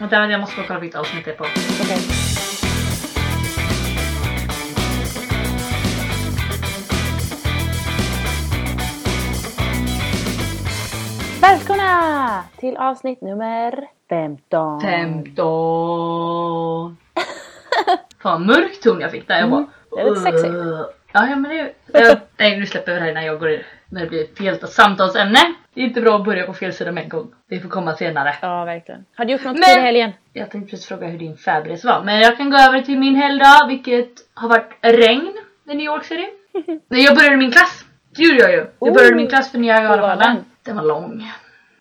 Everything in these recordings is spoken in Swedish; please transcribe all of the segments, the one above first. Mutta mä en tiedä, musta alkaa viittaa usein tepoa. Okei. Välkomna till avsnitt nummer 15. Femton. Fan mörk ton jag fick där. Jag Mm. bara... Det är lite sexigt. "Ugh." Ja, ja men det... Jag, nej nu släpper vi det här innan jag går in. När det blir ett helt samtalsämne. Det är inte bra att börja på fel sida med en gång. Det får komma senare. Ja, verkligen. Har du gjort något Men- kul i helgen? Jag tänkte precis fråga hur din färdresa var. Men jag kan gå över till min helgdag, vilket har varit regn i New York City. Nej, jag började min klass. Det gjorde jag ju. Jag började Oh. min klass för nya Hur var Garafallen. den? Den var lång.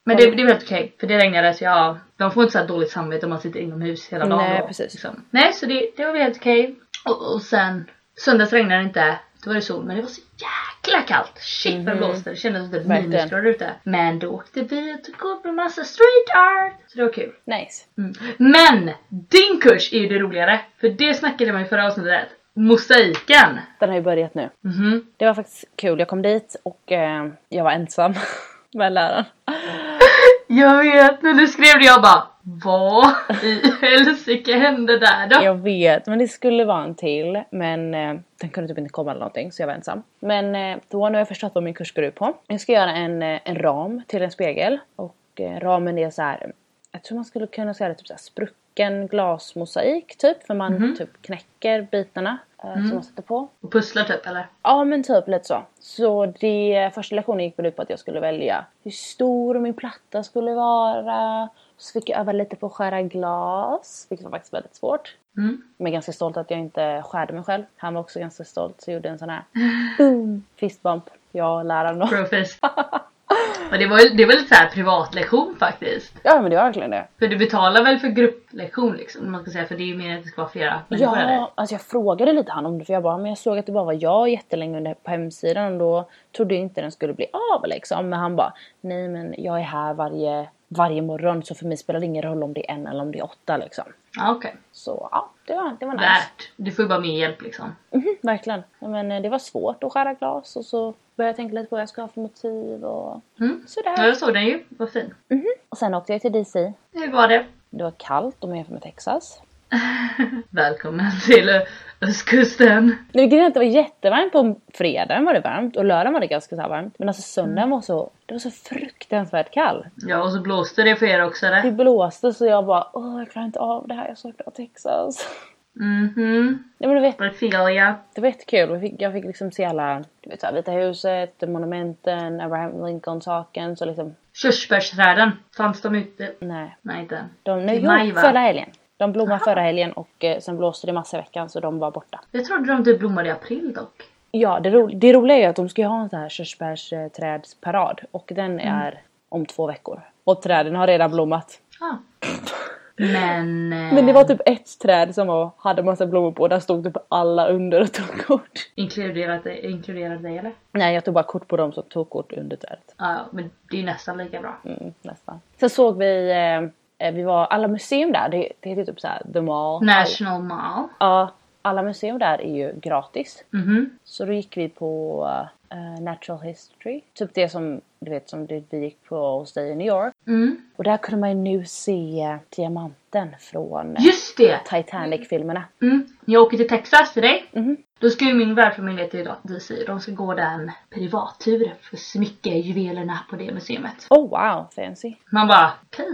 Men det, det var helt okej, för det regnade så jag... De får inte så här dåligt samvete om man sitter inomhus hela dagen. Nej, då, precis. liksom. Nej, så det, det var väl helt okej. Och, och sen... Söndags regnade det inte. Då var det sol, men det var så jäkla kallt. Shit vad det Mhm. blåste. Det kändes som det var Verkligen. minusgrader ute. Men då åkte vi och tog upp en massa street art. Så det var kul. Nice. Mm. Men! Din kurs är ju det roligare. För det snackade man i förra avsnittet. Mosaiken. Den har ju börjat nu. Mhm. Det var faktiskt kul. Jag kom dit och eh, jag var ensam med läraren. Jag vet, när du skrev det jag bara Vad i helsike hände där då? Jag vet, men det skulle vara en till. Men eh, den kunde typ inte komma eller någonting så jag var ensam. Men eh, då nu har jag förstått vad min kurs går ut på. Jag ska göra en, eh, en ram till en spegel. Och eh, ramen är så här. jag tror man skulle kunna säga det typ så här sprucken glasmosaik typ. För man typ knäcker bitarna eh, som man sätter på. Och pusslar typ eller? Ja men typ lite så. Så det, första lektionen gick väl ut på att jag skulle välja hur stor min platta skulle vara. Så fick jag öva lite på att skära glas, vilket var faktiskt väldigt svårt. Mm. Men jag är ganska stolt att jag inte skärde mig själv. Han var också ganska stolt så jag gjorde en sån här boom fistbump. Jag och läraren då. Brofist. Och det var ju det var lite såhär privatlektion faktiskt. Ja men det var verkligen det. För du betalar väl för grupplektion liksom? om Man ska säga för det är ju mer att det ska vara flera människor där. Ja, alltså jag frågade lite han om det för jag bara, men jag såg att det bara var jag jättelänge under, på hemsidan och då trodde jag inte den skulle bli av liksom. Men han bara, nej men jag är här varje, varje morgon så för mig spelar det ingen roll om det är en eller om det är åtta liksom. Ja okej. Så ja, det var, det var nice. Värt. Du får ju bara mer hjälp liksom. Mhm, verkligen. Ja, Men eh, det var svårt att skära glas och så började jag tänka lite på vad jag ska ha för motiv och Mm. sådär. Ja jag såg den ju, vad fin. Och sen åkte jag till DC. Hur var det? Det var kallt om jag jämför med Texas. Välkommen till ö- östkusten. Nu grejen är att det var jättevarmt på fredagen var det varmt och lördagen var det ganska så här varmt. Men alltså Mm. söndagen var så, det var så fruktansvärt kall. Ja och så blåste det för er också eller? Det blåste så jag bara åh jag klarar inte av det här, jag saknar Texas. Mhm. Nej men du vet, Brasilia. det var jättekul. Jag fick, jag fick liksom se alla, du vet så här, Vita huset, monumenten, Abraham Lincoln-saken. Så liksom, Körsbärsträden. Fanns de ute? nej. Nej inte än. De, nej Till jo, maj, va? förra helgen. De blommade förra helgen och eh, sen blåste det massa i veckan så de var borta. Jag trodde de typ blommade i april dock. Ja, det, ro- det roliga är ju att de ska ju ha en sån här körsbärsträdsparad och den är om två veckor. Och träden har redan blommat. Ja. Men... eh, Men det var typ ett träd som var, hade massa blommor på, där stod typ alla under och tog kort. Inkluderat dig, inkluderat dig eller? Nej, jag tog bara kort på dem som tog kort under trädet. Ja, ja, men det är ju nästan lika bra. Mm, nästan. Sen såg vi, eh, eh, vi var, alla museum där, det, det heter ju typ såhär The Mall. National Mall. Ja, alla museum där är ju gratis. Mhm. Så då gick vi på eh, Natural History, typ det som du vet som det, vi gick på hos dig i New York. Mm. Och där kunde man ju nu se eh, diamanten från eh, Just det! Titanic-filmerna. Mm. Jag åker till Texas till dig. Mhm. Då ska ju min värdfamilj till DC. De ska gå där en privattur för att smycka juvelerna på det museet. Oh wow, fancy. Man bara, okej.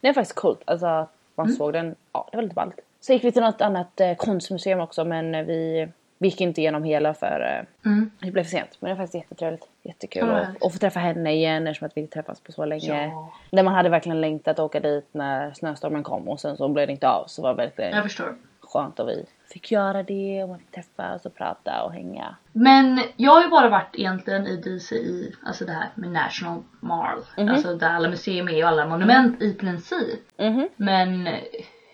Det är faktiskt coolt, alltså att man Mm. såg den. Ja, det var lite ballt. Så gick vi till något annat eh, konstmuseum också men eh, vi, vi gick inte igenom hela för eh, Mm. det blev för sent. Men det var faktiskt jättetrevligt. Jättekul Ja, att härligt. och få träffa henne igen eftersom att vi inte träffats på så länge. Ja. När man hade verkligen längtat att åka dit när snöstormen kom och sen så blev det inte av så var det verkligen Jag förstår. skönt att vi fick göra det och man fick träffas och prata och hänga. Men jag har ju bara varit egentligen i DC i, alltså det här med National Mall. Alltså där alla museer är och alla monument i princip. Mhm. Men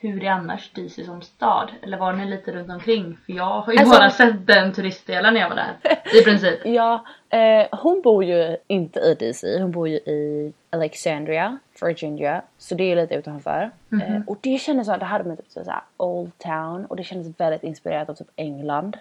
hur är annars DC som stad? Eller var ni lite runt omkring? För jag har ju Alltså- bara sett den turistdelen när jag var där. I princip. Ja, Eh, hon bor ju inte i DC, hon bor ju i Alexandria, Virginia. Så det är lite utanför. Eh, och det kändes som att det hade med typ så här Old Town och det kändes väldigt inspirerat av typ England.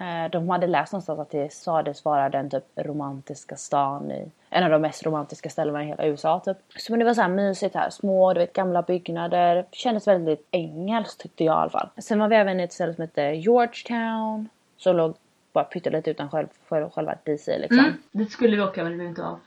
Eh, de hade läst någonstans att det sades vara den typ romantiska stan i en av de mest romantiska ställena i hela USA typ. Så men det var så här mysigt här, små du vet gamla byggnader. Kändes väldigt engelskt tyckte jag i alla fall. Sen var vi även i ett ställe som hette Georgetown som låg bara pyttelite utan själv, själv, själva DC liksom. Mm. Det skulle vi åka men det blev inte av.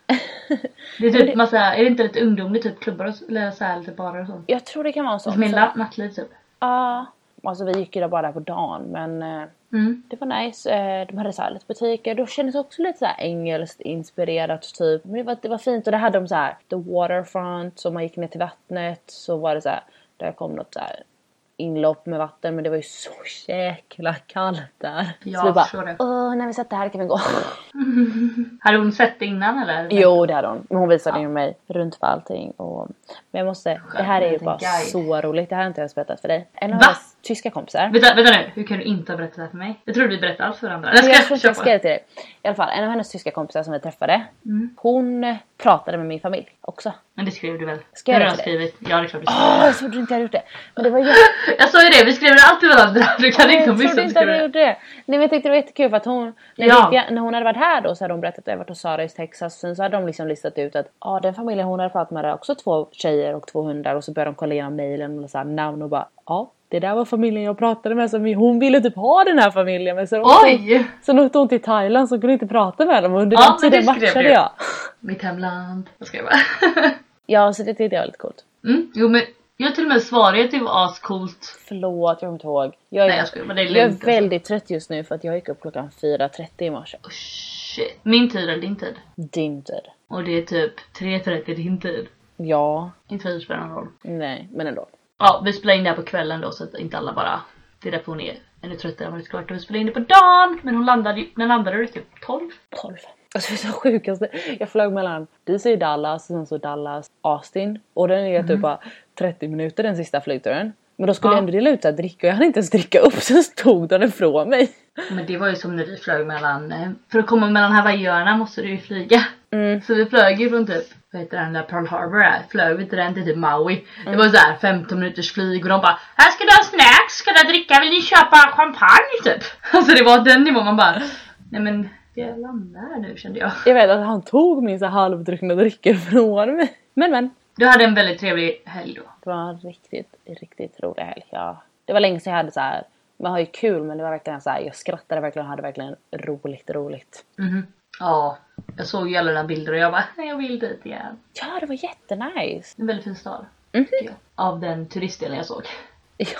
Det är typ massa, är det inte lite ungdomligt typ klubbar och s- eller så här, lite barer och sånt? Jag tror det kan vara en sån. Som är så- la- nattliv typ. Ja. alltså vi gick ju där bara där på dagen men eh, Mm. det var nice. Eh, de hade så här lite butiker. Det kändes också lite så här engelskt inspirerat typ. Men det var, det var fint och det hade de så här the waterfront. Så man gick ner till vattnet så var det så här. Där kom något så här inlopp med vatten men det var ju så jäkla kallt där. Ja, så vi förstår det. bara åh när vi satt där kan vi gå. Hade hon sett det innan eller? Jo det hade hon. Men hon visade ju mig runt på allting. Och... Men jag måste, det här är ju Liten bara guide. så roligt. Det här har jag inte ens berättat för dig. En av Va? mina tyska kompisar. Vänta, vänta nu, hur kan du inte ha berättat det här för mig? Jag trodde vi berättade allt för varandra. Men Alltså, jag tror inte kör jag på. skrev till dig. I alla fall, en av hennes tyska kompisar som vi träffade. Mm. Hon pratade med min familj också. Men det skrev du väl? Ska jag Det har göra det? skrivit. Ja det är klart du skrev. Åh, jag trodde inte jag hade gjort det. Men det var jätte... Ah! Jag sa ju det, vi skrev det alltid varandra. Du kan inte ha jag trodde missat att inte att skriva jag det. gjorde det. Nej men jag tyckte det var jättekul för att hon, när, Ja. Vivian, när hon hade varit här då så hade hon berättat att jag varit hos Sara i Texas. Sen så hade de liksom listat ut att ja den familjen hon hade pratat med hade också två tjejer och två hundar och så började de kolla igenom mejlen och så här namn och bara ja det där var familjen jag pratade med som hon ville typ ha den här familjen men sen Oj! Sen åkte hon till Thailand så hon kunde inte prata med dem och under Ja, den men det tiden skrev matchade du. jag. Mitt hemland. Jag skrev bara. Ja, så det tyckte jag var lite coolt. Mm, jo men jag till och med svarade att det var ascoolt. Förlåt, jag kommer inte ihåg. Jag är, Nej, jag skojar, men det är jag är lugnt, alltså. väldigt trött just nu för att jag gick upp klockan 4.30 i morse. Oh, shit. Min tid eller din tid? Din tid. Och det är typ 3.30 din tid. Ja, Inte för att det spelar någon roll. nej, men ändå. Ja, vi spelar in det här på kvällen då så att inte alla bara... Det är därför hon är ännu tröttare än vad det skulle varit. Och vi spelar in det på dagen! Men hon landade ju... När landade du? Typ 12? 12. Alltså det är så sjukaste. Jag flög mellan DC i Dallas och sen så Dallas, Austin. Och den är typ bara 30 minuter den sista flygturen. Men då skulle Mhm. Ja. jag ändå dela ut så här dricka och jag hann inte ens dricka upp så tog de den från mig. Men det var ju som när vi flög mellan, eh, för att komma mellan Hawaiiöarna måste du ju flyga. Mm. Så vi flög ju från typ, vad heter den där Pearl Harbor är? Flög vi till den till typ Maui. Det var såhär 15 minuters flyg och de bara Här ska du ha snacks, ska du ha dricka, vill ni köpa champagne typ? Alltså det var den nivån man bara Nej men, ska jag landa här nu kände jag. Jag vet att han tog min så här halvdruckna drycker från mig. Men men. Du hade en väldigt trevlig helg då. Det var en riktigt, riktigt rolig helg. Ja. Det var länge sedan jag hade så här. man har ju kul men det var verkligen så här. jag skrattade verkligen och hade verkligen roligt, roligt. Mhm. Ja, jag såg ju alla dina bilder och jag bara "Nej, jag vill dit igen. Ja, det var jättenice! En väldigt fin stad. Mhm. tycker jag. Av den turistdelen jag såg. Ja,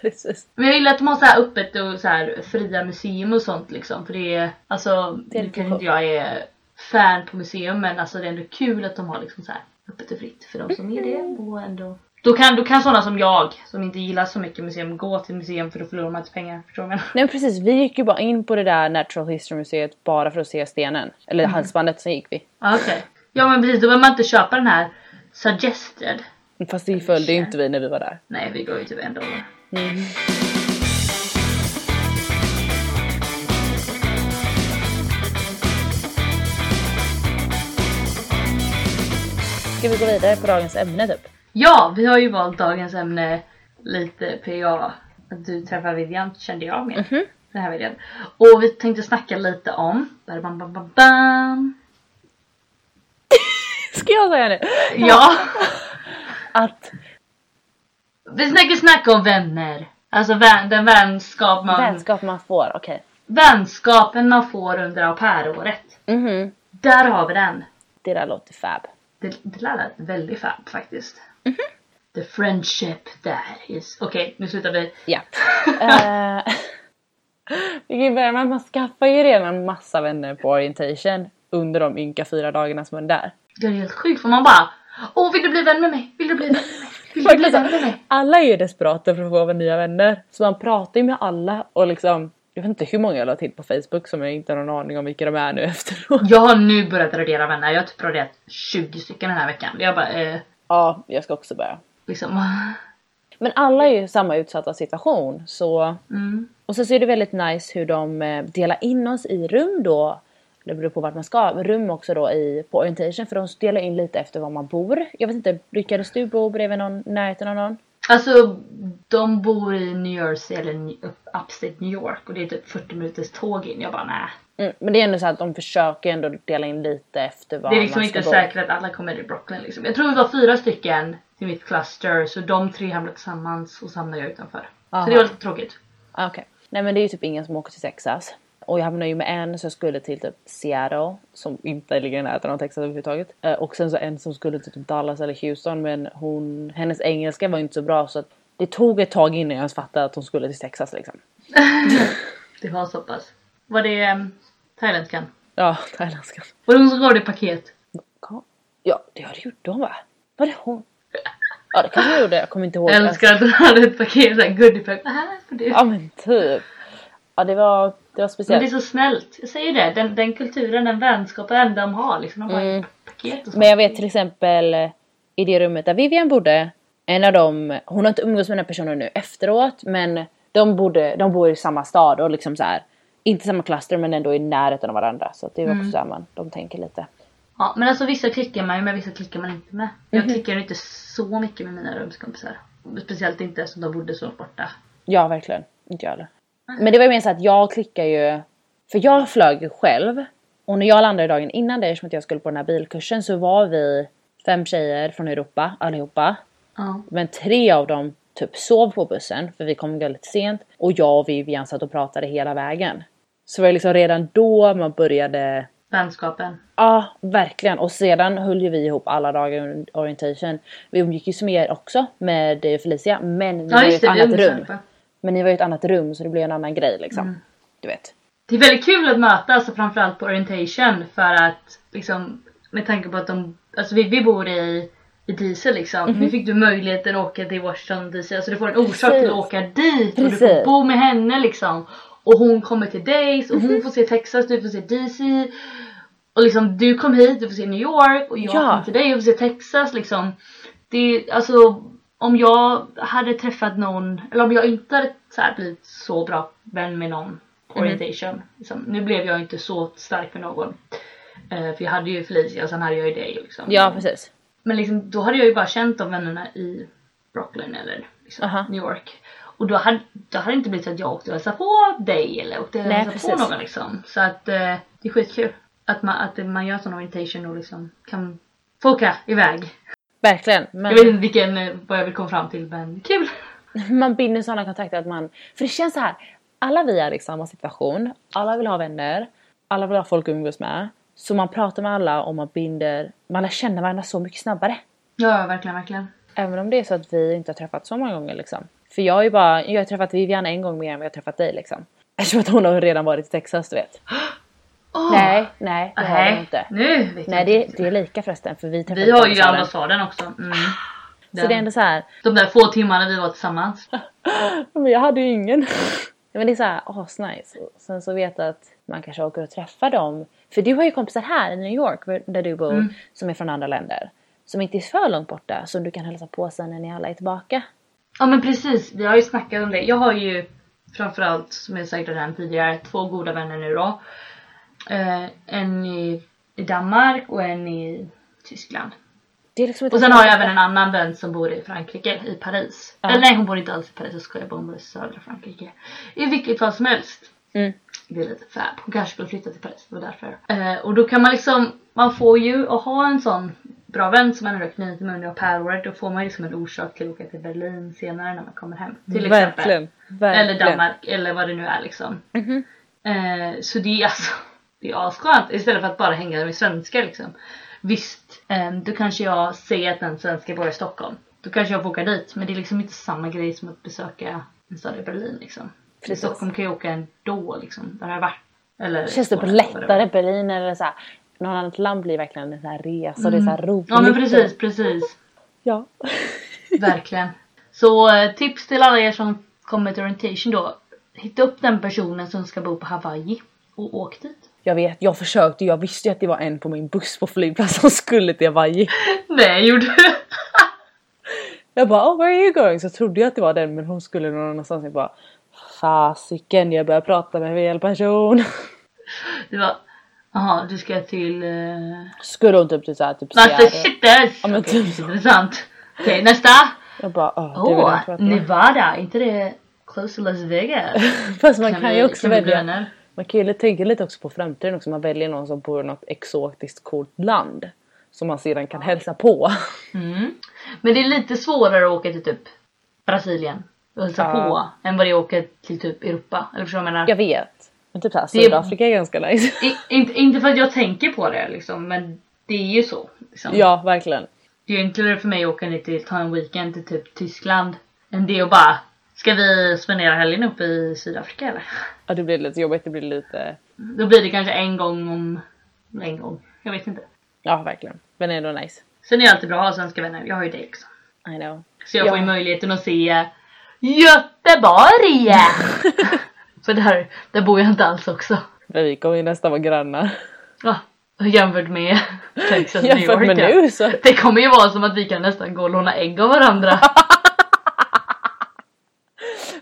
precis. Men jag gillar att de har så här öppet och så här fria museum och sånt liksom. För det är, alltså, Det är nu lite kanske inte jag är fan på museum men alltså det är ändå kul att de har liksom så här öppet och fritt för de som är det. Och ändå. Då kan, då kan sådana som jag, som inte gillar så mycket museum, gå till museum för då förlorar man inte pengar. Förstår du vad jag menar? Nej men precis, vi gick ju bara in på det där Natural History Museet bara för att se stenen. Eller halsbandet, sen gick vi. Ja, Okej. Ja men precis, då behöver man inte köpa den här suggested. Fast det följde ju inte vi när vi var där. Nej vi går ju typ en dollar. Ska vi gå vidare på dagens ämne typ? Ja, vi har ju valt dagens ämne lite PA. Att du träffar Vivian kände jag med. Den här Vivian. Och vi tänkte snacka lite om... Bam, bam, bam, bam. Ska jag säga nu? Ja! Att Vi tänker snacka om vänner. Alltså vän, den vänskap man, vänskap man får, okej. vänskapen man får under au pair-året. Mhm. Där har vi den. Det där låter fab. Det, det lät väldigt fab faktiskt. The friendship där is... Okej, nu slutar vi. Ja. Eh, Vi kan ju börja med att man skaffar ju redan massa vänner på orientation under de ynka fyra dagarna som man är där. Det är helt sjukt för man bara... Åh, vill du bli vän med mig? Vill du bli vän med mig? Vill du bli Verkligen vän med mig? så. Alla är ju desperata för att få nya vänner. Så man pratar ju med alla och liksom jag vet inte hur många jag la till på Facebook som jag inte har någon aning om vilka de är nu efteråt. Jag har nu börjat radera vänner. Jag har typ raderat 20 stycken den här veckan. Jag bara eh, Ja, jag ska också börja. liksom... Men alla är ju i samma utsatta situation så Mm. Och sen så är det väldigt nice hur de eh, delar in oss i rum då. Det beror på vart man ska. Men Rum också då i, på orientation för de delar in lite efter var man bor. Jag vet inte, lyckades du bo bredvid någon, närheten av någon? Alltså de bor i New Jersey eller New- upp- Upstate New York och det är typ 40 minuters tåg in. Jag bara nej. Mm, men det är ändå så att de försöker ändå dela in lite efter var Det är liksom man ska inte bo. säkert att alla kommer till Brooklyn liksom. Jag tror vi var fyra stycken till mitt cluster så de tre hamnade tillsammans och så hamnade jag utanför. Aha. Så det var lite tråkigt. Ah, Okej. Nej men det är ju typ ingen som åker till Texas. Och jag hamnade ju med en som skulle till typ Seattle som inte ligger i närheten av Texas överhuvudtaget. Eh, Och sen så en som skulle till typ Dallas eller Houston men hon, hennes engelska var ju inte så bra så att det tog ett tag innan jag ens fattade att hon skulle till Texas liksom. Det var så pass. Var det um, thailändskan? Ja, thailändskan. Var det hon som gav dig paket? Ja, det ja, det gjorde hon va? Var det hon? Ja det kanske jag gjorde, jag kommer inte ihåg. Jag älskar att hon hade ett paket såhär goodiebag. Vad här får du? Ja men typ. Ja det var, det var Men speciellt. det är så snällt. Jag säger det, den, den kulturen, den vänskapen de har liksom. De har ju paket och sånt. Mm. Men jag vet till exempel eh, i det rummet där Vivian bodde, en av dem, hon har inte umgåtts med den här personen nu efteråt men de, bodde, de bor i samma stad och liksom så här, inte samma kluster men ändå i närheten av varandra så att det är också så här man, de tänker lite. Ja, men alltså vissa klickar man ju med, vissa klickar man inte med. Jag Mhm. klickar ju inte så mycket med mina rumskompisar. Speciellt inte som de bodde så långt borta. Ja verkligen, inte jag heller. Men det var ju mer så att jag klickar ju, för jag flög ju själv och när jag landade dagen innan det eftersom att jag skulle på den här bilkursen så var vi fem tjejer från Europa allihopa Ja. Men tre av dem typ sov på bussen för vi kom väldigt sent och jag och Vivian satt och pratade hela vägen. Så det var liksom redan då man började, Vänskapen. ja verkligen. Och sedan höll ju vi ihop alla dagar under orientation. Vi umgick ju som er också med dig och Felicia men ni Ja, var ju i just ett det, vi annat umgicks Mm. rum. allihopa. Men ni var ju i ett annat rum så det blev en annan grej liksom. Du vet. Det är väldigt kul att mötas och framförallt på orientation för att liksom med tanke på att de, alltså vi, vi bor i, i DC liksom. Nu fick du möjligheten att åka till Washington DC, alltså du får en orsak till att Mhm. Precis. åka dit och du Precis. får bo med henne liksom. Och hon kommer till dig och Mhm. hon får se Texas, du får se DC. Och liksom du kom hit, du får se New York och jag Ja. kom till dig och får se Texas liksom. Det är alltså om jag hade träffat någon, eller om jag inte hade så här blivit så bra vän med någon på Mm. orientation. Liksom. Nu blev jag inte så stark med någon. Eh, för jag hade ju Felicia och sen hade jag ju dig liksom. Ja precis. Men liksom, då hade jag ju bara känt de vännerna i Brooklyn eller liksom, Aha. New York. Och då hade, då hade det inte blivit så att jag åkte och hälsade på dig eller åkte och Nej, hälsade på precis. någon liksom. Så att eh, det är skitkul. Att man, att man gör sån orientation och liksom kan få åka iväg. Verkligen. Men... Jag vet inte vilken, eh, vad jag vill komma fram till men kul! Man binder sådana kontakter att man... För det känns så här. Alla vi är i samma situation. Alla vill ha vänner. Alla vill ha folk att umgås med. Så man pratar med alla och man binder... Man lär känna varandra så mycket snabbare. Ja, ja, verkligen, verkligen. Även om det är så att vi inte har träffats så många gånger liksom. För jag är ju bara... Jag har träffat Vivian en gång mer än vad jag har träffat dig liksom. Eftersom att hon har redan varit i Texas du vet. Åh! Nej, nej det har hon Ah. Nej, inte. nu vet Nej jag det, inte. det är lika förresten för vi träffades Vi på har ju ambassaden. Ah, ambassaden också. Mm. Så det är ändå så här. De där få timmarna vi var tillsammans. Men jag hade ju ingen. Men det är såhär asnice. Och Sen så vet jag att man kanske åker och träffar dem. För du har ju kompisar här i New York där du bor Mm. som är från andra länder. Som inte är för långt borta som du kan hälsa på sen när ni alla är tillbaka. Ja men precis, vi har ju snackat om det. Jag har ju framförallt, som jag sagt redan tidigare, två goda vänner nu då. Eh, en i, i Danmark och en i Tyskland. Det är liksom inte Och sen så har jag långt även borta. en annan vän som bor i Frankrike, i Paris. Eller nej hon bor inte alls i Paris, jag skojar bara, hon bor i södra Frankrike. I vilket fall som helst. Mm. Det är lite fab. Hon kanske skulle flytta till Paris, det var därför. Eh, och då kan man liksom, man får ju att ha en sån bra vän som man har rökt nio med under pärlåret. Då får man ju liksom en orsak till att åka till Berlin senare när man kommer hem. Till exempel. Mm, Verkligen. Verkligen. Mhm. Eller Danmark eller vad det nu är liksom. Eh, så det är alltså, det är asskönt istället för att bara hänga med svenskar liksom. Visst, eh, då kanske jag ser att en svenska bor i Stockholm. Då kanske jag får åka dit men det är liksom inte samma grej som att besöka en stad i Berlin liksom. Till Precis. Stockholm kan jag åka ändå liksom, där har jag varit. Eller Känns det på Skåne, vad var. lättare Berlin eller såhär. Något annat land blir verkligen en sån här resa och det är såhär roligt. Mm. Ja men precis, precis. Ja. Verkligen. Så eh, tips till alla er som kommer till orientation då. Hitta upp den personen som ska bo på Hawaii och åk dit. Jag vet, jag försökte. Jag visste ju att det var en på min buss på flygplatsen som skulle till Hawaii. Nej, gjorde du? Jag bara oh, where are you going? Så trodde jag att det var den men hon skulle någon annanstans. Jag bara fasiken jag börjar prata med fel person. Det var Jaha, du ska till... Uh... Skulle hon typ till såhär typ Master Seattle. Shitters! Ja, men Okej, typ så. intressant. Okej, nästa! Jag bara åh, det vill jag Åh, inte prata om. Nevada, inte det close to Las Vegas? Fast man kan, ju också kan liksom vi bli välja. vänner? Man kan ju lite- tänka lite också på framtiden också. Man väljer någon som bor i något exotiskt coolt land. Som man sedan kan hälsa på. Mm. Men det är lite svårare att åka till typ Brasilien och hälsa Ja. på än vad det är att åka till typ Europa. Eller förstår du vad jag menar? Jag vet. Men typ såhär Det är- Sydafrika är ganska nice. I, inte, inte för att jag tänker på det liksom, men det är ju så. Liksom. Ja verkligen. Det är ju enklare för mig att åka ner till, ta en weekend till typ Tyskland än det och bara Ska vi spendera helgen uppe i Sydafrika eller? Ja det blir lite jobbigt. Det blir lite. Då blir det kanske en gång om... En gång. Jag vet inte. Ja verkligen. Men ändå nice. Sen är det alltid bra att ha svenska vänner. Jag har ju dig också. I know. Så jag får ju Ja. möjligheten att se Göteborg! För där, där bor jag inte alls också. Men vi kommer ju nästan vara grannar. Ja, jämfört med Texas, New Jämfört York. med ja. nu så. Det kommer ju vara som att vi kan nästan gå och låna ägg av varandra.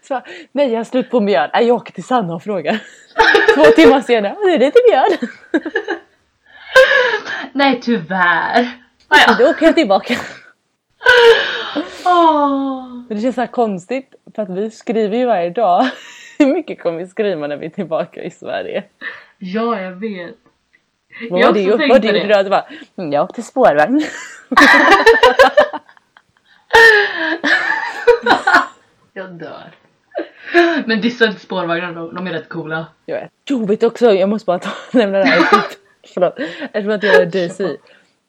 så bara, Nej jag har slut på mjöl. Nej, jag åker till Sanna och frågar. Två timmar senare. Nu är det till mjöl. Nej tyvärr. Ah, ja. Då åker jag tillbaka. Åh. Men det känns så här konstigt för att vi skriver ju varje dag. Hur mycket kommer vi skriva när vi är tillbaka i Sverige? ja, jag vet. Vad Jag har var det också upp? tänkt Vad på det det. gjorde du? Bara, "Mm, jag åkte spårvagn. Jag dör. Men dissa inte spårvagnar, de, de är rätt coola. Jag vet. Jobbigt också. Jag måste bara ta, nämna det här. Förlåt. Eftersom att jag är DC.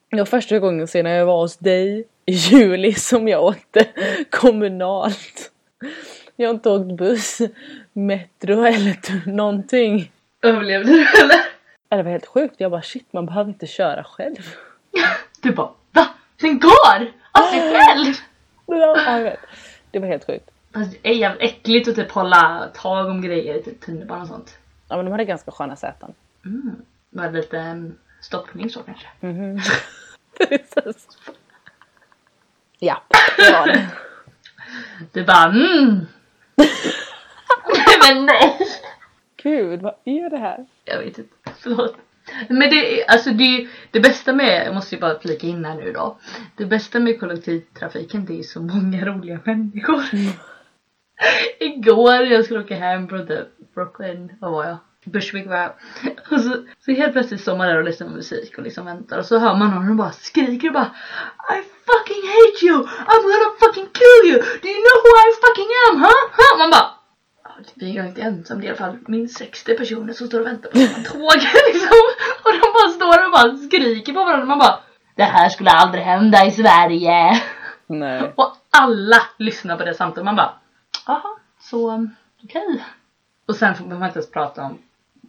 Det var första gången sedan jag var hos dig i juli som jag åkte kommunalt. Jag har inte åkt buss, metro eller t- någonting. Överlevde du eller? Ja, Det var helt sjukt. Jag bara shit man behöver inte köra själv. Du bara va? Den går! Av sig Ah. själv! Ja, jag vet. Det var helt sjukt. Fast det är jävligt äckligt att typ hålla tag om grejer i typ tunnelbanan och sånt. Ja men de hade ganska sköna säten. Med lite um, stoppning så kanske. Mm. Mhm. ja, det var det. Du bara mm. Men nej! Gud, vad är det här? Jag vet inte, förlåt. Men det, är- alltså det, det bästa med, jag måste ju bara flika in här nu då. Det bästa med kollektivtrafiken det är så många roliga människor. Igår när jag skulle åka hem från typ Brooklyn, vad var jag? Bushwick var jag. Och så, så helt plötsligt står man där och lyssnar på musik och liksom väntar och så hör man någon som bara skriker och bara I fucking hate you! I'm gonna fucking kill you! Do you know who I fucking am? Huh? Huh? Man bara Ja, Vi är ju inte ensam, det är i alla fall minst 60 personer som står och väntar på samma tåg liksom. Och de bara står och bara skriker på varandra. Man bara Det här skulle aldrig hända i Sverige. Nej. Och alla lyssnar på det samtidigt. Man bara Jaha, så um, okej. Och sen får man inte ens prata om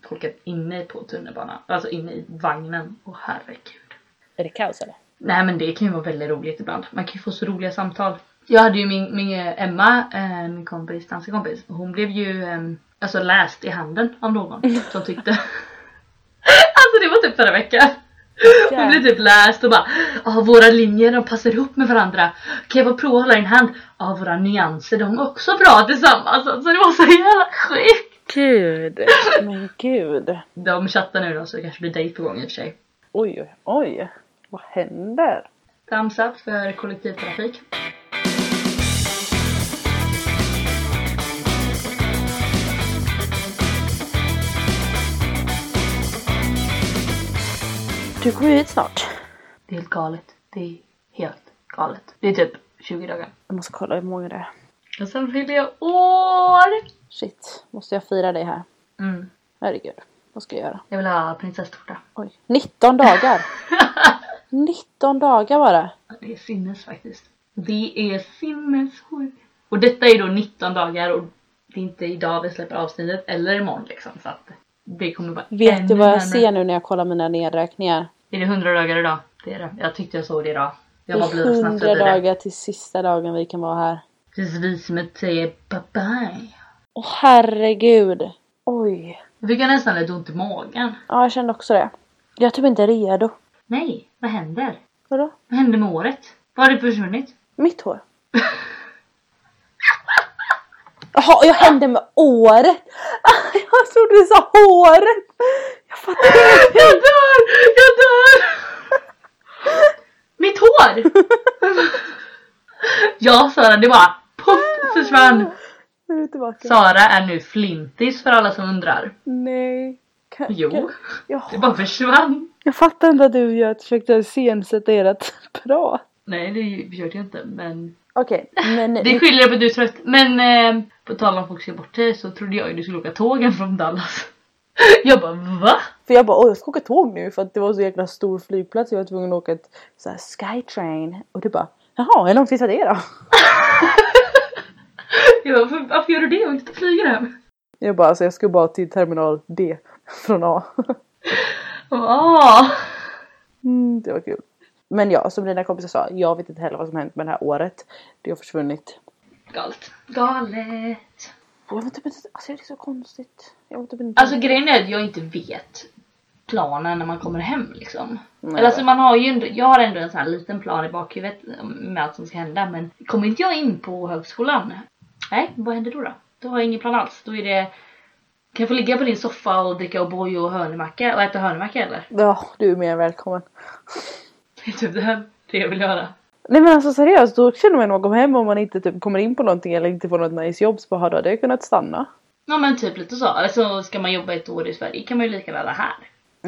folket inne på tunnelbanan. Alltså inne i vagnen. Åh herregud. Är det kaos eller? Nej men det kan ju vara väldigt roligt ibland. Man kan ju få så roliga samtal. Jag hade ju min, min eh, Emma, eh, min kompis, danskompis. Hon blev ju eh, alltså läst i handen av någon som tyckte. alltså det var typ förra veckan. Hon blev typ läst och bara ah, våra linjer de passar ihop med varandra. Kan jag bara prova att hålla din hand? Ja ah, våra nyanser de är också bra tillsammans. Alltså det var så jävla sjukt. Gud. Men gud. De chattar nu då så det kanske blir dejt på gång i och för sig. Oj, oj, oj. Vad händer? Thumbs up för kollektivtrafik. Du kommer ju hit snart. Det är helt galet. Det är helt galet. Det är typ 20 dagar. Jag måste kolla hur många det är. Och sen fyller jag år! Shit, måste jag fira dig här? Mm. Herregud, vad ska jag göra? Jag vill ha prinsesstårta. Oj. 19 dagar! 19 dagar bara. Det är sinnes faktiskt. Det är sinnessjukt. Och detta är då 19 dagar och det är inte idag vi släpper avsnittet eller imorgon liksom. Så att det kommer vara Vet ännu du vad jag närmare. ser nu när jag kollar mina nedräkningar? Är det 100 dagar idag? Det är det. Jag tyckte jag såg det idag. Jag bara Det blev är snabbt 100 förbi det. dagar till sista dagen vi kan vara här. Tills visumet säger bye bye. Åh herregud! Oj. Jag fick nästan lite ont i magen. Ja, jag kände också det. Jag är typ inte redo. Nej, vad händer? Vadå? Vad hände med året? Vad har det försvunnit? Mitt hår. Jaha, jag hände med året! Jag trodde du sa håret! Jag fattar Jag dör! Jag dör! Mitt hår! Ja Sara, det bara poff försvann. Nu är du tillbaka. Sara är nu flintis för alla som undrar. Nej. Kan, Jo, kan- jag, det bara försvann. jag fattar inte att du och jag försökte iscensätta ert prat. Nej, det gjorde jag inte men Okej, men Det skiljer på att du är trött. Men eh, på tal om folk ser bort dig så trodde jag ju du skulle åka tågen från Dallas. Jag bara va? För jag bara, åh jag ska åka tåg nu för att det var så jäkla stor flygplats jag var tvungen att åka ett så här, skytrain. Och du bara, jaha hur långt finns det då? Jag bara, "Varför- varför gör du det och inte flyger hem? Jag bara, alltså jag ska bara till terminal D från A. Och, "Ah." Mm, det var kul. Men ja, som dina kompisar sa, jag vet inte heller vad som hänt med det här året. Det har försvunnit. Galet. Galet. Jag vet typ inte, alltså det är så konstigt. Jag vet typ inte. Alltså grejen är att jag inte vet planen när man kommer hem liksom. Nej, Eller alltså jag man har ju ändå, jag har ändå en sån här liten plan i bakhuvudet med allt som ska hända men kommer inte jag in på högskolan, nej vad händer då då? Då har jag ingen plan alls. Då är det, kan jag få ligga på din soffa och dricka O'boy och hörnemacka och äta hörnemacka eller? Ja, du är mer än välkommen. Det är typ det här det jag vill göra. Nej men alltså seriöst, då känner man när man kommer hem om man inte typ kommer in på någonting eller inte får något nice jobb så bara, "Ja, då hade jag kunnat stanna. Ja men typ lite så. Eller så ska man jobba ett år i Sverige kan man ju lika väl vara här.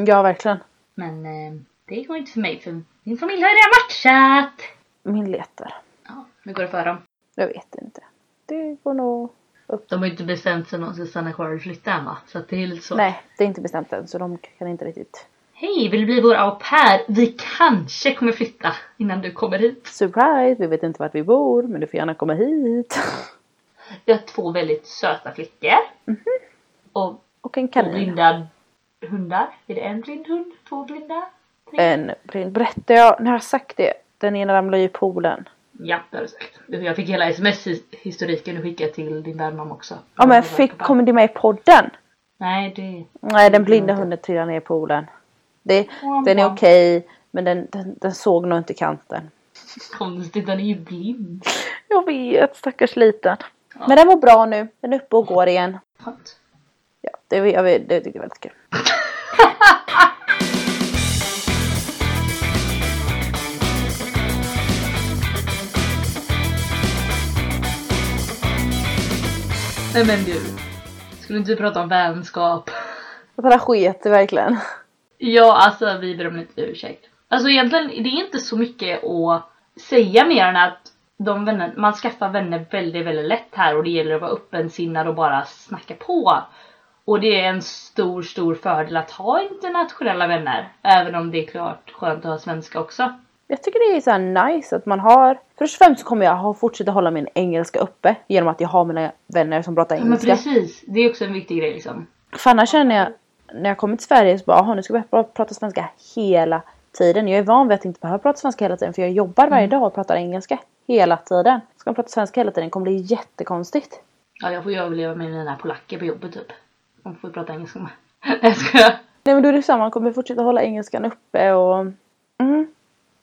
Ja, verkligen. Men eh, det går inte för mig för min familj har redan matchat. Min letar. Ja, nu går det för dem. Jag vet inte. Det går nog... De har ju inte bestämt sig om de ska stanna kvar eller flytta än va? Så att det är lite så. Nej, det är inte bestämt än så de kan inte riktigt... Hej, vill du bli vår au pair? Vi kanske kommer flytta innan du kommer hit. Surprise! Vi vet inte vart vi bor men du får gärna komma hit. Vi har två väldigt söta flickor. Och Och en två kanin. blinda hundar. Är det en blind hund? Två blinda? Mm. En blind. Berättar jag... När jag har sagt det? Den ena ramlade ju i poolen. Ja, det har du sagt. Jag fick hela sms-historiken du skickade till din värdmamma också. Ja men fick... Kommer det med i podden? Nej, det... Nej, den blinda hunden trillade ner i poolen. Det, den är okej men den, den, den såg nog inte kanten. Konstigt, den är ju blind. Jag vet, stackars liten. Men den mår bra nu. Den är uppe och går igen. Skönt. Ja, det, jag, vet- det tycker jag är väldigt kul. Nej men du. Skulle inte vi prata om vänskap? Jag bara sket det verkligen. Ja, alltså vi ber om lite ursäkt. Alltså egentligen, det är inte så mycket att säga mer än att de vänner, man skaffar vänner väldigt, väldigt lätt här och det gäller att vara öppensinnad och bara snacka på. Och det är en stor, stor fördel att ha internationella vänner. Även om det är klart skönt att ha svenska också. Jag tycker det är så här nice att man har... Först och främst så kommer jag ha, fortsätta hålla min engelska uppe genom att jag har mina vänner som pratar Men engelska. precis, det är också en viktig grej liksom. För annars känner jag när jag kommer till Sverige så bara, "Jaha, nu ska jag börja pra- prata svenska hela tiden. Jag är van vid att inte behöva prata svenska hela tiden för jag jobbar varje dag och pratar engelska hela tiden. Ska man prata svenska hela tiden kommer det bli jättekonstigt. Ja, jag får ju överleva med mina polacker på jobbet typ. De får ju prata engelska med. Nej, jag skojar. Nej men då är det samma, man kommer fortsätta hålla engelskan uppe och... Mm.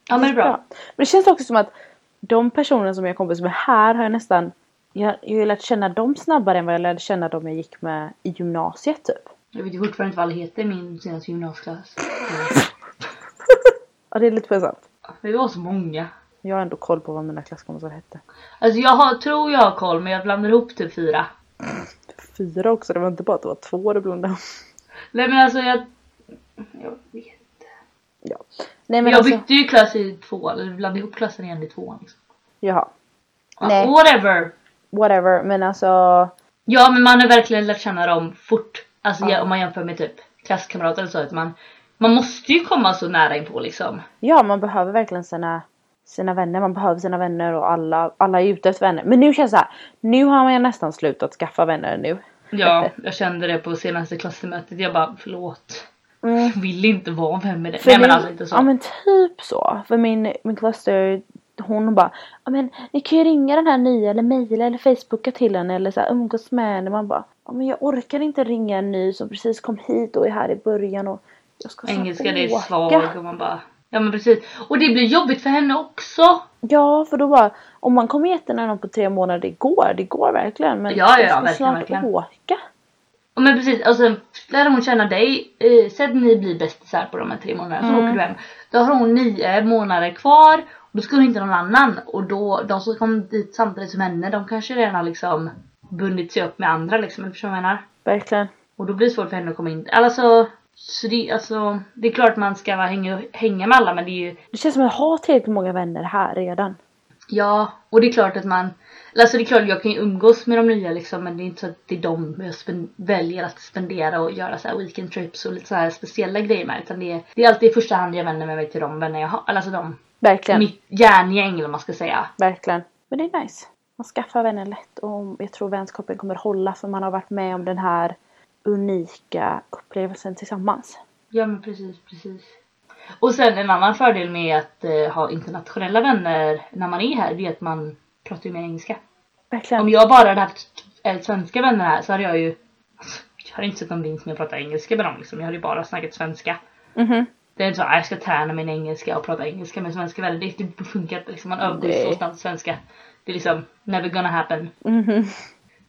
Ja men det är bra. Men det känns också som att de personer som jag är kompis med här har jag nästan... Jag, jag har ju lärt känna dem snabbare än vad jag lärde känna dem jag gick med i gymnasiet typ. Jag vet ju fortfarande inte vad alla heter i min senaste gymnasieklass. Ja det är lite pinsamt. Vi var så många. Jag har ändå koll på vad mina klasskompisar hette. Alltså jag har, tror jag har koll men jag blandar ihop typ fyra. Fyra också, det var inte bara att det var två du blundade. Nej men alltså jag... Jag, vet. Ja. Nej men jag alltså, bytte ju klass i två, eller blandade ihop klassen igen i tvåan liksom. jaha. Ja, Nej. Whatever! Whatever, men alltså... Ja men man har verkligen lärt känna dem fort. Alltså jag, om man jämför med typ klasskamrater eller så. Att man, man måste ju komma så nära inpå liksom. Ja, man behöver verkligen sina, sina vänner. Man behöver sina vänner och alla, alla är ute efter vänner. Men nu känns det så här. Nu har man ju nästan slutat skaffa vänner nu. Ja, jag kände det på senaste klassmötet. Jag bara förlåt. Mm. Jag vill inte vara vän med dig. För Nej men nu- alltså inte så. Ja men typ så. För min, min cluster, hon bara ja men ni kan ju ringa den här nya eller mejla eller facebooka till henne eller så här, umgås med henne. Man bara ja men jag orkar inte ringa en ny som precis kom hit och är här i början och jag ska snart Engelska det är åka." svag och man bara... Ja men precis. Och det blir jobbigt för henne också. Ja för då bara om man kommer jättenära någon på tre månader det går, det går verkligen men Ja, ja, ja, jag ska verkligen, snart verkligen. åka. Ja men precis och sen lär hon känna dig. Eh, Säg att ni blir bästisar på de här tre månaderna så Mm. åker du hem. Då har hon nio månader kvar och då skulle inte någon annan och då de som kom dit samtidigt som henne de kanske redan har liksom bundit sig upp med andra liksom. Förstår du vad jag menar? Verkligen. Och då blir det svårt för henne att komma in. Alltså, så det, alltså det är klart man ska vara hänga, hänga med alla men det är ju Det känns som att jag har tillräckligt många vänner här redan. Ja, och det är klart att man Alltså det är klart jag kan ju umgås med de nya liksom men det är inte så att det är de jag spen- väljer att spendera och göra så här weekend trips och lite så här speciella grejer med utan det är, det är alltid i första hand jag vänder mig till de vänner jag har, eller alltså de Verkligen. mitt järngäng eller vad man ska säga. Verkligen. Men det är nice. Man skaffar vänner lätt och jag tror vänskapen kommer hålla för man har varit med om den här unika upplevelsen tillsammans. Ja men precis, precis. Och sen en annan fördel med att eh, ha internationella vänner när man är här det är att man pratar ju mer engelska. Verkligen. Om jag bara hade haft eh, svenska vänner här så hade jag ju alltså, jag hade inte sett någon vinst med att prata engelska med dem liksom. Jag hade ju bara snackat svenska. Mhm. Det är inte så att jag ska träna min engelska och prata engelska med svenska vänner. Det, det funkar inte liksom. Man övergår ju så Nej. snabbt svenska. Det är liksom never gonna happen. Mhm.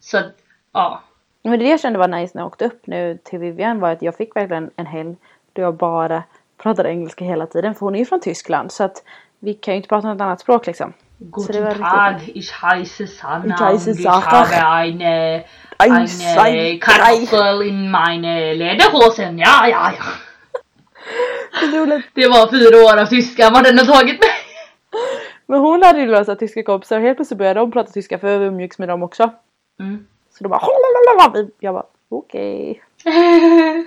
Så att, ja. Men det jag kände var nice när jag åkte upp nu till Vivian var att jag fick verkligen en helg då jag bara pratade engelska hela tiden för hon är ju från Tyskland så att vi kan ju inte prata något annat språk liksom. Så det var Guten riktigt Tag, ich heiße Sanna Ich heiße und ich Sarah. habe eine, Ein, eine zwei, Kartoffel in meine Lederhosen. Ja, ja, ja. roligt. Det var fyra år av tyska vad den har tagit mig. Men hon hade ju lösa tyska kompisar och helt plötsligt började de prata tyska för vi umgicks med dem också. Mm. Så då bara "Holalala." Jag bara okej.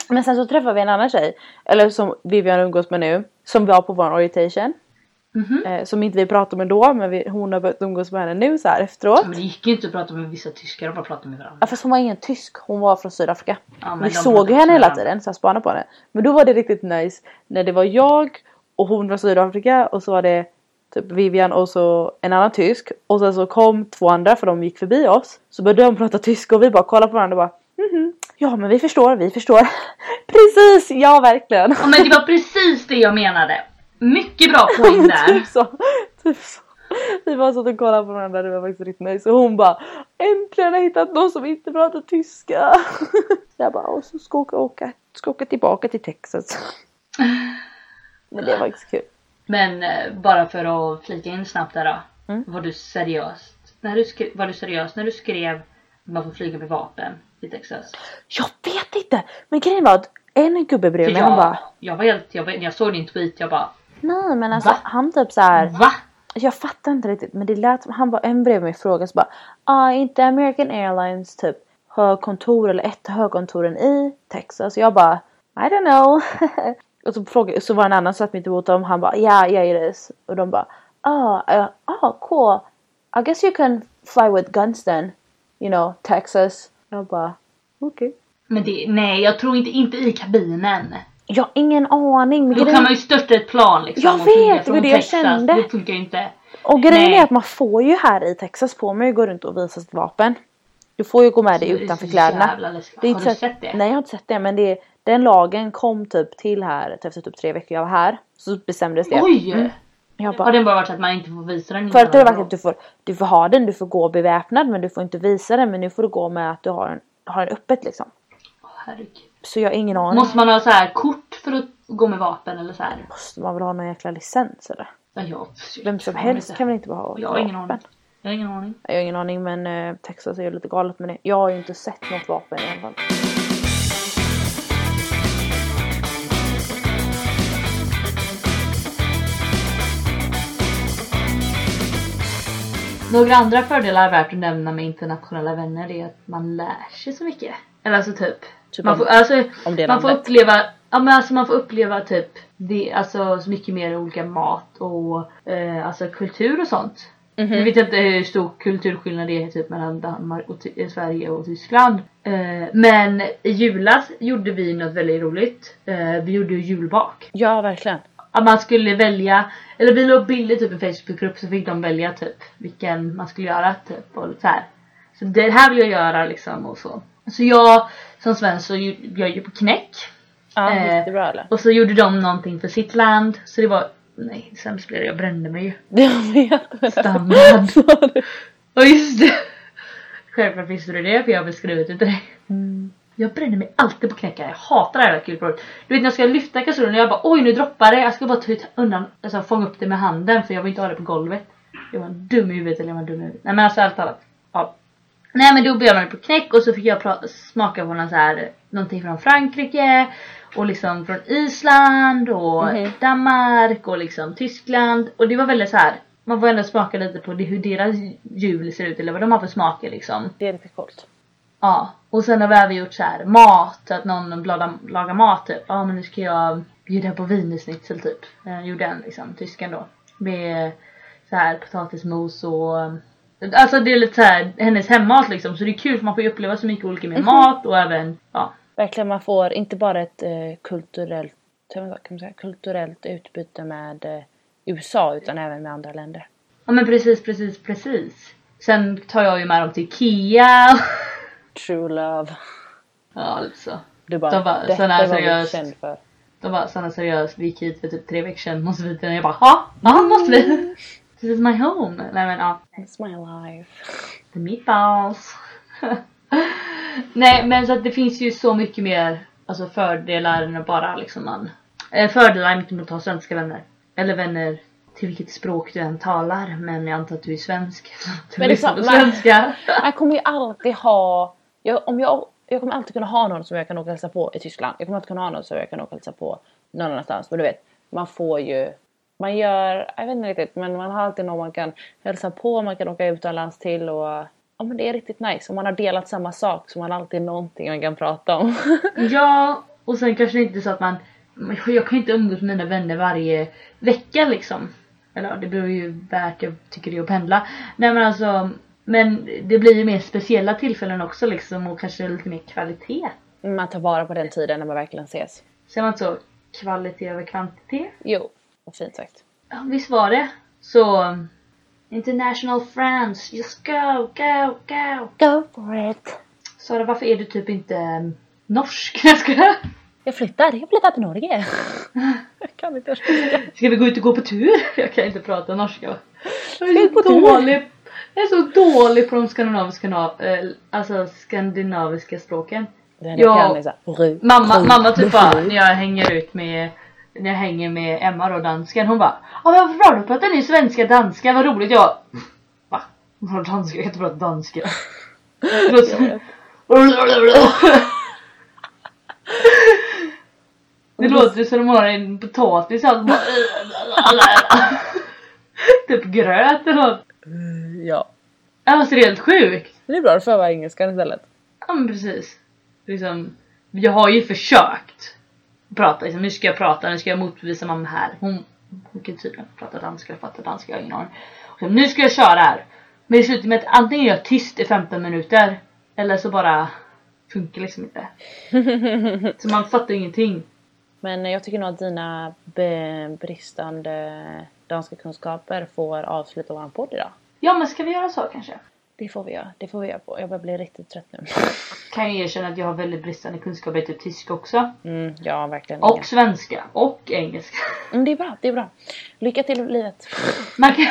Men sen så träffade vi en annan tjej, eller som Vivian umgås med nu, som var på vår orientation. Mhm. Eh, som inte vi pratade med då, men vi, hon har börjat umgås med henne nu så här efteråt. Men det gick ju inte att prata med vissa tyskar, de bara pratade med varandra. Ja fast hon var ingen tysk, hon var från Sydafrika. Ja, men vi de såg pratade ju henne hela tyska. tiden så jag spanade på henne. Men då var det riktigt nice när det var jag och hon från Sydafrika och så var det typ Vivian och så en annan tysk. Och sen så kom två andra för de gick förbi oss. Så började de prata tyska och vi bara kollade på varandra och bara mhm, ja men vi förstår, vi förstår. Precis, ja verkligen. Ja men det var precis det jag menade. Mycket bra poäng där. typ så. Typ så. Vi bara satt och kollade på varandra, det var faktiskt riktigt nice. Och hon bara Äntligen har jag hittat någon som inte pratar tyska. Jag bara, och så ska jag åka, åka, ska åka tillbaka till Texas. Men det var faktiskt kul. Men eh, bara för att flika in snabbt där då. Mm. Var du seriös? När du skrev, var du seriös när du skrev att man får flyga med vapen i Texas? Jag vet inte! Men grejen var att en gubbe bredvid mig, jag, han bara jag var helt, jag, var- när jag såg din tweet jag bara Nej men alltså Va? han typ så här. VA? Jag fattar inte riktigt men det lät som han var en bredvid mig frågade så bara ah, inte American Airlines typ har kontor eller ett av högkontoren i Texas? Jag bara I don't know. och så, frågade, så var det en annan som satt mitt emot dem han bara yeah yeah it is. Och de bara ah, uh, ah cool. I guess you can fly with guns then. You know Texas. Jag bara okej. Men det, nej jag tror inte, inte i kabinen. Jag har ingen aning. Men Då grejen, kan man ju störta ett plan liksom. Jag och flyga vet, det från var det jag Texas. kände. Det funkar ju inte. och grejen nej. är att man får ju här i Texas på mig gå runt och visa sitt vapen. Du får ju gå med dig Så det är utanför så kläderna. jävla läskigt. Det är Har inte du så att- sett det? Nej jag har inte sett det men det, den lagen kom typ till här typ efter typ tre veckor jag var här. Så bestämdes det. Oj! Jag Har bara, den bara varit så att man inte får visa den Mm. förut har det innan? varit att du får, du får ha den, du får gå beväpnad men du får inte visa den men nu får du gå med att du har den, har den öppet liksom. Åh, herregud. Så jag har ingen aning. Måste man ha så här kort för att gå med vapen eller så här? Måste man väl ha någon jäkla licens eller? Ja, jag, Vem som jag helst vet kan väl inte bara ha Jag har ingen vapen? aning. Jag har ingen aning. Jag har ingen aning men eh, Texas är ju lite galet med det. Jag har ju inte sett något vapen i alla fall. Några andra fördelar värt att nämna med internationella vänner är att man lär sig så mycket. Eller alltså typ. Typ man om- får, alltså, om det man får landet. uppleva Ja men alltså man får uppleva typ det, alltså så mycket mer olika mat och eh, alltså kultur och sånt. Jag vet inte hur stor kulturskillnad det är typ mellan Danmark och Ty- eh, Sverige och Tyskland. Eh, men i julas gjorde vi något väldigt roligt. Eh, vi gjorde ju julbak. Ja verkligen. att man skulle välja, eller vi la upp bilder typ i en Facebookgrupp så fick de välja typ vilken man skulle göra typ och så här. Så det här vill jag göra liksom och så. Så jag som svensk så ju- bjöd ju på knäck Ja Eh, jättebra eller? och så gjorde de någonting för sitt land så det var, nej sämst blev det, jag brände mig ju. Jag vet. Standard. Och just det! Självklart visste du det för jag har beskrivit det till dig. Jag bränner mig alltid på knäcka. Jag hatar det här kulprovet. Du vet när jag ska lyfta kastrullen och jag bara oj nu droppar det. Jag ska bara ta ut undan, alltså fånga upp det med handen för jag vill inte ha det på golvet. Jag var dum i huvudet eller jag var dum i huvudet. Nej men alltså allt talat. Ja. Nej men då bjöd man på knäck och så fick jag pra- smaka på någon så här, någonting från Frankrike och liksom från Island och Mhm. Danmark och liksom Tyskland. Och det var väldigt så här. man får ändå smaka lite på det, hur deras jul ser ut eller vad de har för smaker liksom. Det är lite coolt. Ja, och sen har vi även gjort så här mat, att någon lagar, lagar mat typ. Ja men nu ska jag bjuda på wienerschnitzel typ. Eh, gjorde en liksom, tysken då. Med så här potatismos och Alltså det är lite så här hennes hemmat liksom så det är kul för man får ju uppleva så mycket olika med mat och även ja. Verkligen, man får inte bara ett eh, kulturellt, kan man säga, kulturellt utbyte med eh, USA utan även med andra länder. Ja men precis precis precis. Sen tar jag ju med dem till Ikea. True love. ja alltså. Du bara, De bara, detta sån här var vi seriös- känd för. De bara Sanna seriöst, vi gick hit för typ tre veckor sedan, måste vi till den? Jag bara ja, ja måste vi. This is my home. Nej men ja. It's my life. The meatballs. Nej men så att det finns ju så mycket mer alltså fördelar än att bara liksom man. Eh, fördelar är inte med att ha svenska vänner. Eller vänner till vilket språk du än talar. Men jag antar att du är svensk. eftersom Du Men det är lyssnar på samma. svenska. Jag kommer ju alltid ha... Jag, om jag, jag kommer alltid kunna ha någon som jag kan åka och hälsa på i Tyskland. Jag kommer alltid kunna ha någon som jag kan åka och hälsa på någon annanstans. Men du vet, man får ju... Man gör... Jag vet inte riktigt, men man har alltid någon man kan hälsa på, man kan åka utomlands till och... Ja men det är riktigt nice. Om man har delat samma sak så man har alltid någonting man kan prata om. Ja, och sen kanske det inte är så att man... Jag kan ju inte umgås med mina vänner varje vecka liksom. Eller ja, det beror ju värt jag tycker det är att pendla. Nej men alltså, men det blir ju mer speciella tillfällen också liksom och kanske lite mer kvalitet. man tar vara på den tiden när man verkligen ses. Ser man inte så? Kvalitet över kvantitet. Jo, vad fint sagt. Ja, visst var det. Så... um, International friends, just go, go, go. Go for it! Sara, varför är du typ inte eh, norsk? Jag skojar. Jag flyttar, jag flyttar till Norge! jag kan inte tyska. Ska vi gå ut och gå på tur? Jag kan inte prata norska. Jag Gå är ut på så tur. dålig. Jag är så dålig på de skandinaviska, nav- eh, alltså skandinaviska språken. Det enda Ja. jag kan är såhär... Mamma, mamma typ bara, när jag hänger ut med när jag hänger med Emma då, dansken, hon bara Ja men varför bra, då pratar ni svenska danska, vad roligt jag Va? Hon har danska, jag kan inte prata danska Det låter som- Det låter som de har en potatis och allt. Typ gröt eller något Ja. Alltså det är helt sjukt Men Det är bra, då får jag vara engelskan istället. Ja men precis. Liksom, jag har ju försökt prata, liksom, nu ska jag prata, nu ska jag motbevisa mamma här. Hon, hon kan tydligen prata danska, jag fattar danska, jag har ingen aning. Och så, Nu ska jag köra här. Men det slutar med att antingen är jag tyst i 15 minuter eller så bara funkar liksom inte. Så man fattar ingenting. Men eh, jag tycker nog att dina be- bristande danska kunskaper får avsluta vår podd idag. Ja men ska vi göra så kanske? Det får vi göra, det får vi göra på. Jag börjar bli riktigt trött nu. Kan ju erkänna att jag har väldigt bristande kunskaper i typ tyska också. Mm, ja, verkligen. Och svenska. Och engelska. Mm, det är bra, det är bra. Lycka till i livet. Man kan,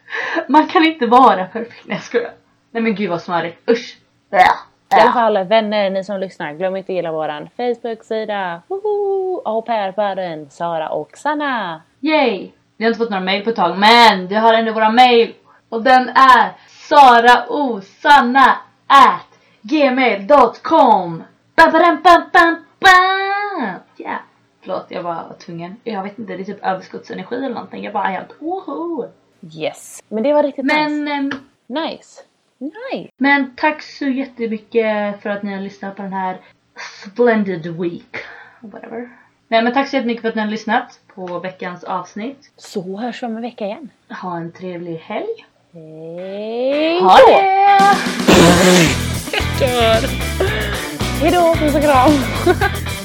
man kan inte vara perfekt. Nej jag skojar. Nej men gud vad smörigt. Usch. Äh, I alla äh. fall eh, vänner, ni som lyssnar, glöm inte att gilla våran Facebook-sida. Woho! Au pair-paren, Sara och Sanna. Yay. Vi har inte fått några mail på ett tag men vi har ändå våra mail. Och den är saraosanna at gmail.com. Bam, bam, bam, bam, bam. Yeah. Förlåt jag var tvungen. Jag vet inte det är typ överskottsenergi eller någonting. Jag bara helt woho. Yes. Men det var riktigt nice. Men, ehm, Nice. Nice. men tack så jättemycket för att ni har lyssnat på den här splendid week. Whatever. Nej men tack så jättemycket för att ni har lyssnat på veckans avsnitt. Så hörs vi om en vecka igen. Ha en trevlig helg. Hej Ha det! Hejdå, puss och kram!